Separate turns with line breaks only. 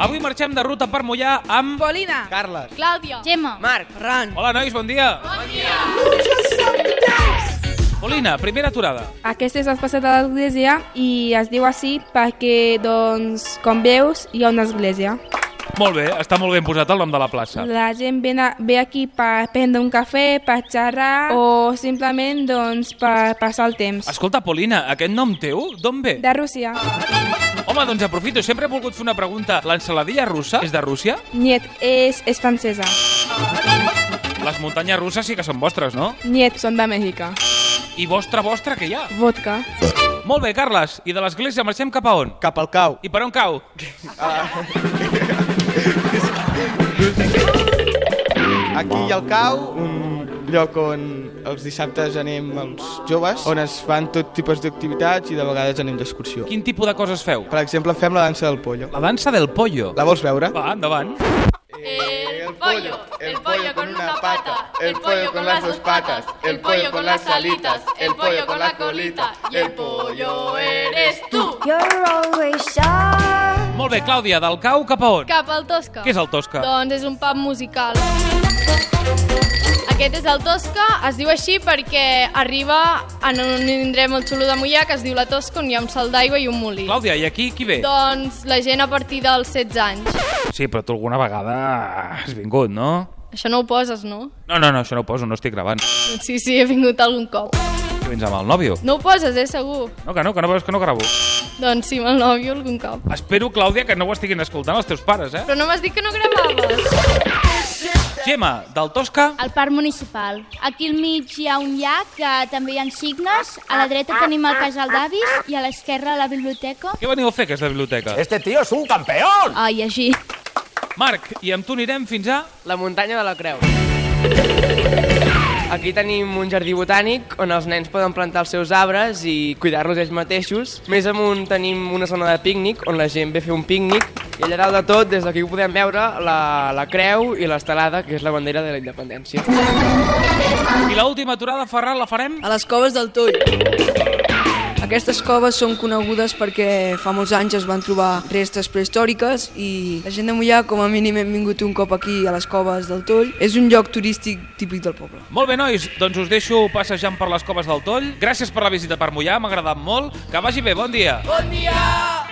Avui marxem de ruta per Mollà amb...
Polina.
Carles.
Clàudia.
Gemma.
Marc. Ran.
Hola, nois, bon dia. Bon dia. Polina, primera aturada.
Aquest és el passat de l'església i es diu així perquè, doncs, com veus, hi ha una església.
Molt bé, està molt ben posat el nom de la plaça.
La gent ve, a, ve aquí per prendre un cafè, per xerrar o simplement doncs, per passar el temps.
Escolta, Polina, aquest nom teu d'on ve?
De Rússia.
Home, doncs aprofito, sempre he volgut fer una pregunta. L'ensaladilla russa és de Rússia?
Niet és, és francesa.
Les muntanyes russes sí que són vostres, no?
Niet són de Mèxic.
I vostra, vostra, que hi ha?
Vodka.
Molt bé, Carles, i de l'església marxem cap a on?
Cap al cau.
I per on cau?
Aquí hi ha el cau, un lloc on els dissabtes anem els joves, on es fan tot tipus d'activitats i de vegades anem d'excursió.
Quin tipus de coses feu?
Per exemple, fem la dansa del pollo.
La dansa del pollo.
La vols veure?
Va, endavant.
El pollo, el pollo con una pata, el pollo con las dos patas, el pollo con las alitas, el pollo con la colita, y el pollo eres tú.
You're always shy.
Molt bé, Clàudia, del cau cap a on?
Cap al Tosca.
Què és el Tosca?
Doncs és un pub musical. Aquest és el Tosca, es diu així perquè arriba en un indret molt xulo de Mollà que es diu la Tosca on hi ha un salt d'aigua i un molí.
Clàudia, i aquí qui ve?
Doncs la gent a partir dels 16 anys.
Sí, però tu alguna vegada has vingut, no?
Això no ho poses, no?
No, no, no, això no ho poso, no estic gravant.
Sí, sí, he vingut algun cop.
Que vens amb el nòvio.
No ho poses, eh, segur.
No, que no, que no veus que no gravo.
Doncs sí, amb el nòvio algun cop.
Espero, Clàudia, que no ho estiguin escoltant els teus pares, eh?
Però no m'has dit que no gravaves.
Gemma, del Tosca...
Al parc municipal. Aquí al mig hi ha un llac que també hi ha signes. A la dreta tenim el casal d'avis i a l'esquerra la biblioteca.
Què veniu a fer, que és la biblioteca?
Este tío es un campeón.
Ah, i així.
Marc, i amb tu anirem fins a...
La muntanya de la Creu. Aquí tenim un jardí botànic on els nens poden plantar els seus arbres i cuidar-los ells mateixos. Més amunt tenim una zona de pícnic on la gent ve a fer un pícnic i allà dalt de tot, des d'aquí podem veure la, la creu i l'estelada, que és la bandera de la independència.
I l'última aturada, Ferran, la farem?
a les coves del Tull. Aquestes coves són conegudes perquè fa molts anys es van trobar restes prehistòriques i la gent de Mollà, com a mínim, hem vingut un cop aquí a les coves del Tull. És un lloc turístic típic del poble.
Molt bé, nois, doncs us deixo passejant per les coves del Toll. Gràcies per la visita per Mollà, m'ha agradat molt. Que vagi bé, bon dia.
Bon dia!